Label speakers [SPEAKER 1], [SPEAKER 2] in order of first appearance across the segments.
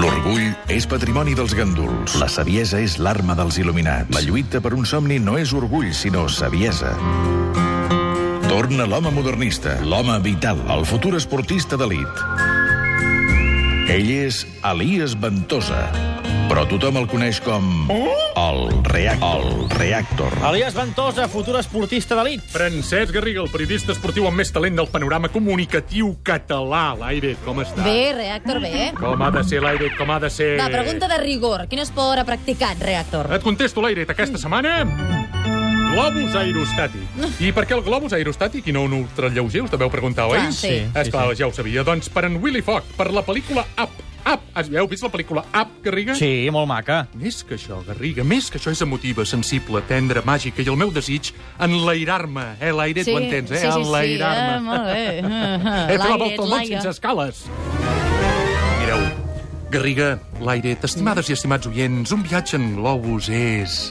[SPEAKER 1] L'orgull és patrimoni dels gàndols. La saviesa és l'arma dels il·luminats. La lluita per un somni no és orgull, sinó saviesa. Torna l'home modernista, l'home vital, el futur esportista d'elit. Ell és Elias Ventosa, però tothom el coneix com... El, reac el Reactor.
[SPEAKER 2] Elias Ventosa, futur esportista d'elit.
[SPEAKER 3] Francesc Garriga, el periodista esportiu amb més talent del panorama comunicatiu català. L'Aire, com està?
[SPEAKER 4] Bé, Reactor, bé.
[SPEAKER 3] Com ha de ser, l'Aire, com ha de ser...
[SPEAKER 4] Va, pregunta de rigor. Quin esport ha practicat, Reactor?
[SPEAKER 3] Et contesto, l'Aire, aquesta setmana... Globus aerostàtic. I per què el globus aerostàtic i no un ultralleuger? Us deveu preguntar, oi?
[SPEAKER 4] Clar, Ah, sí. Sí, sí,
[SPEAKER 3] Esclar, ja ho sabia. Doncs per en Willy Fogg, per la pel·lícula Up. Up. Has- Heu vist la pel·lícula Up, Garriga?
[SPEAKER 2] Sí, molt maca.
[SPEAKER 3] Més que això, Garriga, més que això és emotiva, sensible, tendra, màgica i el meu desig, enlairar-me, eh, l'aire, tu entens, eh?
[SPEAKER 4] Sí, sí, sí.
[SPEAKER 3] enlairar-me.
[SPEAKER 4] Ah, molt bé.
[SPEAKER 3] He fet la
[SPEAKER 4] L'aire,
[SPEAKER 3] volta al món
[SPEAKER 4] l'aire.
[SPEAKER 3] sense escales. Mireu, Garriga, l'aire, estimades i estimats oients, un viatge en globus és...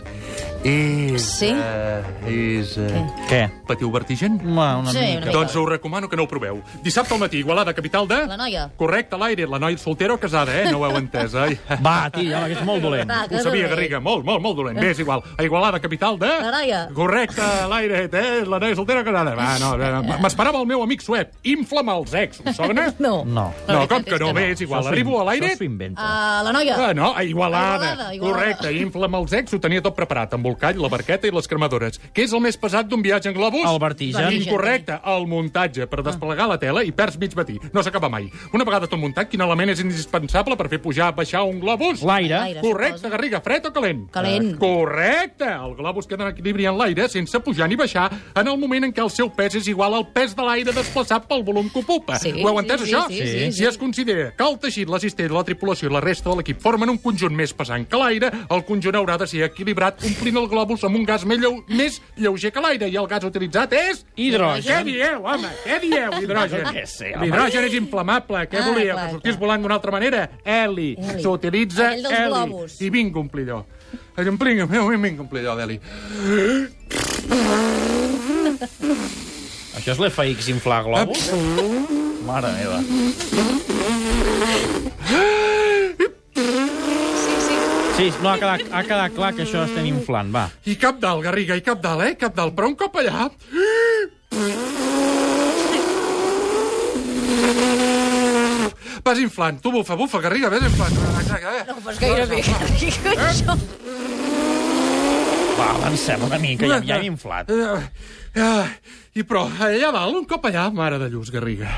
[SPEAKER 3] És...
[SPEAKER 4] Sí?
[SPEAKER 3] eh, és... eh,
[SPEAKER 2] Què?
[SPEAKER 3] Patiu vertigen?
[SPEAKER 2] Home, una
[SPEAKER 4] Sí, una
[SPEAKER 2] mica.
[SPEAKER 4] mica.
[SPEAKER 3] Doncs us recomano que no ho proveu. Dissabte al matí, Igualada, capital de...
[SPEAKER 4] La noia.
[SPEAKER 3] Correcte, l'aire, la noia soltera o casada, eh? No ho heu entès, eh?
[SPEAKER 2] Va, tia, home, que és molt dolent.
[SPEAKER 4] Va, Ah, que
[SPEAKER 3] Ho sabia,
[SPEAKER 4] dolent.
[SPEAKER 3] Garriga, molt, molt, molt dolent. Bé, és igual. A Igualada, capital de...
[SPEAKER 4] La noia.
[SPEAKER 3] Correcte, l'aire, eh? La noia soltera o casada. Va, no, no, no. M'esperava el meu amic suec. Inflama els ex, us sona?
[SPEAKER 4] No.
[SPEAKER 2] No.
[SPEAKER 3] No,
[SPEAKER 4] La
[SPEAKER 3] com
[SPEAKER 4] veritat
[SPEAKER 3] que
[SPEAKER 4] és
[SPEAKER 3] no, bé, és igual. Arribo a l'aire...
[SPEAKER 2] Això s'ho inventa.
[SPEAKER 4] Ah, la noia.
[SPEAKER 3] Ah, no, a Igualada.
[SPEAKER 4] Igualada, Igualada.
[SPEAKER 3] Correcte, infla'm els ex, ho tenia tot preparat, amb el call, la barqueta i les cremadores. Què és el més pesat d'un viatge en globus?
[SPEAKER 2] El vertigen.
[SPEAKER 4] Vertigen.
[SPEAKER 3] Incorrecte, el muntatge, per desplegar la tela i perds mig matí. No s'acaba mai. Una vegada tot muntat, quin element és indispensable per fer pujar, baixar un globus?
[SPEAKER 2] L'aire.
[SPEAKER 4] L'aire.
[SPEAKER 3] Correcte,
[SPEAKER 4] suposo.
[SPEAKER 3] Garriga, fred o calent?
[SPEAKER 4] Calent.
[SPEAKER 3] Eh, Correcte! El globus queda en equilibri en l'aire sense pujar ni baixar en el moment en què el seu pes és igual al pes de l'aire desplaçat pel volum que ocupa.
[SPEAKER 4] Sí,
[SPEAKER 3] Ho heu entès,
[SPEAKER 4] sí,
[SPEAKER 3] això?
[SPEAKER 4] sí, sí, Sí. sí,
[SPEAKER 3] Si es considera que el teixit, l'assistent, la tripulació i la resta de l'equip formen un conjunt més pesant que l'aire, el conjunt haurà de ser equilibrat omplint el globus amb un gas més, lleu, més lleuger que l'aire i el gas utilitzat és... Què
[SPEAKER 2] Hidrogen.
[SPEAKER 3] dieu, home? Què dieu, hidrogen?
[SPEAKER 2] Jo què sé, home.
[SPEAKER 3] L'hidrogen és inflamable. Què
[SPEAKER 4] Ah,
[SPEAKER 3] volia?
[SPEAKER 4] clar,
[SPEAKER 3] Que sortís
[SPEAKER 4] clar.
[SPEAKER 3] volant d'una altra manera? Heli.
[SPEAKER 4] Heli.
[SPEAKER 3] S'utilitza
[SPEAKER 4] Aquell dels
[SPEAKER 3] heli.
[SPEAKER 4] globus.
[SPEAKER 3] I vinc omplidor. Allò, vinc, vinc, vinc omplidor d'heli.
[SPEAKER 2] Això és l'FX inflar globus? Mare meva.
[SPEAKER 4] Sí, sí.
[SPEAKER 2] Sí, no, ha quedat, ha quedat clar que això estem inflant, va.
[SPEAKER 3] I cap dalt, Garriga, i cap dalt, eh? Cap dalt. Però un cop allà... Vas inflant. Tu bufa, bufa, Garriga, ves inflant. Exacte, eh?
[SPEAKER 4] No, però és gairebé. Això.
[SPEAKER 2] Va, avancem una mica, ja, ja hem inflat.
[SPEAKER 3] Eh, eh, I però, allà dalt, un cop allà, mare de lluç, Garriga.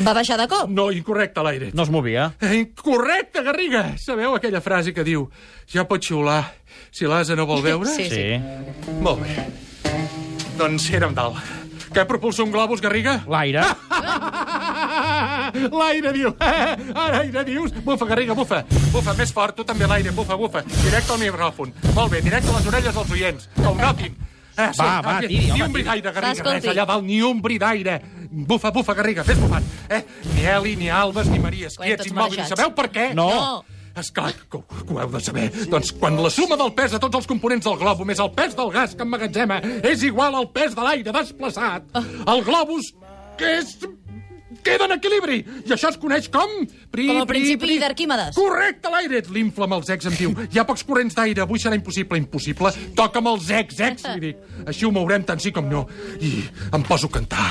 [SPEAKER 4] Va baixar de cop?
[SPEAKER 3] No, incorrecte, l'aire. Eh,
[SPEAKER 2] No es movia.
[SPEAKER 3] Incorrecte, Garriga! Sabeu aquella frase que diu ja pot xiular si l'asa no vol veure?
[SPEAKER 4] Sí.
[SPEAKER 2] Sí.
[SPEAKER 3] Molt bé. Doncs érem dalt. Què propulsa un globus, Garriga?
[SPEAKER 2] L'aire.
[SPEAKER 3] L'aire, diu. eh? Ara aire, dius. Bufa, Garriga, bufa. Bufa, més fort, tu també l'aire. Bufa, bufa. Directe al micròfon. Molt bé, directe a les orelles dels oients. Que ho notin. Eh, sí,
[SPEAKER 2] Va, va,
[SPEAKER 3] eh,
[SPEAKER 2] tiri,
[SPEAKER 3] Ni
[SPEAKER 2] home,
[SPEAKER 3] un bri d'aire, Garriga.
[SPEAKER 4] Escolti.
[SPEAKER 3] Res, allà dalt, ni un bri d'aire. Bufa, bufa, Garriga, fes bufant. Eh? Ni Eli, ni Alves, ni Maries,
[SPEAKER 4] Quan
[SPEAKER 3] quiets,
[SPEAKER 4] tots
[SPEAKER 3] immòbils.
[SPEAKER 4] marejats.
[SPEAKER 3] Sabeu per què?
[SPEAKER 2] No.
[SPEAKER 4] No.
[SPEAKER 3] Esclar, que, ho- que ho heu de saber. Doncs quan la suma del pes de tots els components del globo més el pes del gas que emmagatzema és igual al pes de l'aire desplaçat, el globus que és... queda en equilibri. I això es coneix com... Pri,
[SPEAKER 4] Com el principi d'Arquímedes.
[SPEAKER 3] Correcte, l'aire. L'infla'm els ex, em diu. Hi ha pocs corrents d'aire. Avui serà impossible, impossible. Toca'm els ex, ex, li dic. Així ho mourem tant sí com no. I em poso a cantar.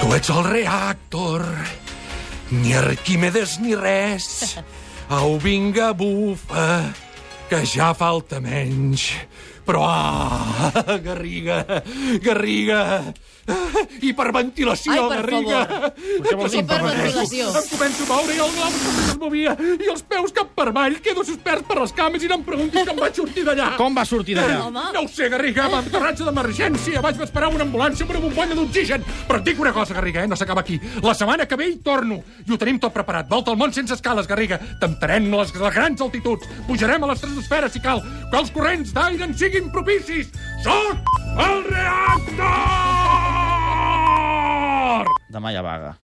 [SPEAKER 3] Tu ets el reactor ni Arquímedes ni res. Au, vinga, bufa, que ja falta menys. Però, ah, Garriga, Garriga, ah, hiperventilació,
[SPEAKER 4] Ai, per
[SPEAKER 3] Garriga.
[SPEAKER 4] favor.
[SPEAKER 2] Què vols dir,
[SPEAKER 4] Hiperventilació.
[SPEAKER 3] Em començo a moure i el globus també es movia i els peus cap per avall, quedo suspers per les cames i no em preguntis com vaig sortir d'allà.
[SPEAKER 2] Com va sortir d'allà?
[SPEAKER 4] Home.
[SPEAKER 3] No ho sé, Garriga, amb aterratge d'emergència. Vaig esperar una ambulància amb una bombolla d'oxigen. Però et dic una cosa, Garriga, eh? no s'acaba aquí. La setmana que ve hi torno. I ho tenim tot preparat. Volta al món sense escales, Garriga. Temptarem les, les grans altituds. Pujarem a les estratosferes, si cal. Que els corrents d'aire en siguin propicis. Soc el reactor!
[SPEAKER 2] Demà ja vaga.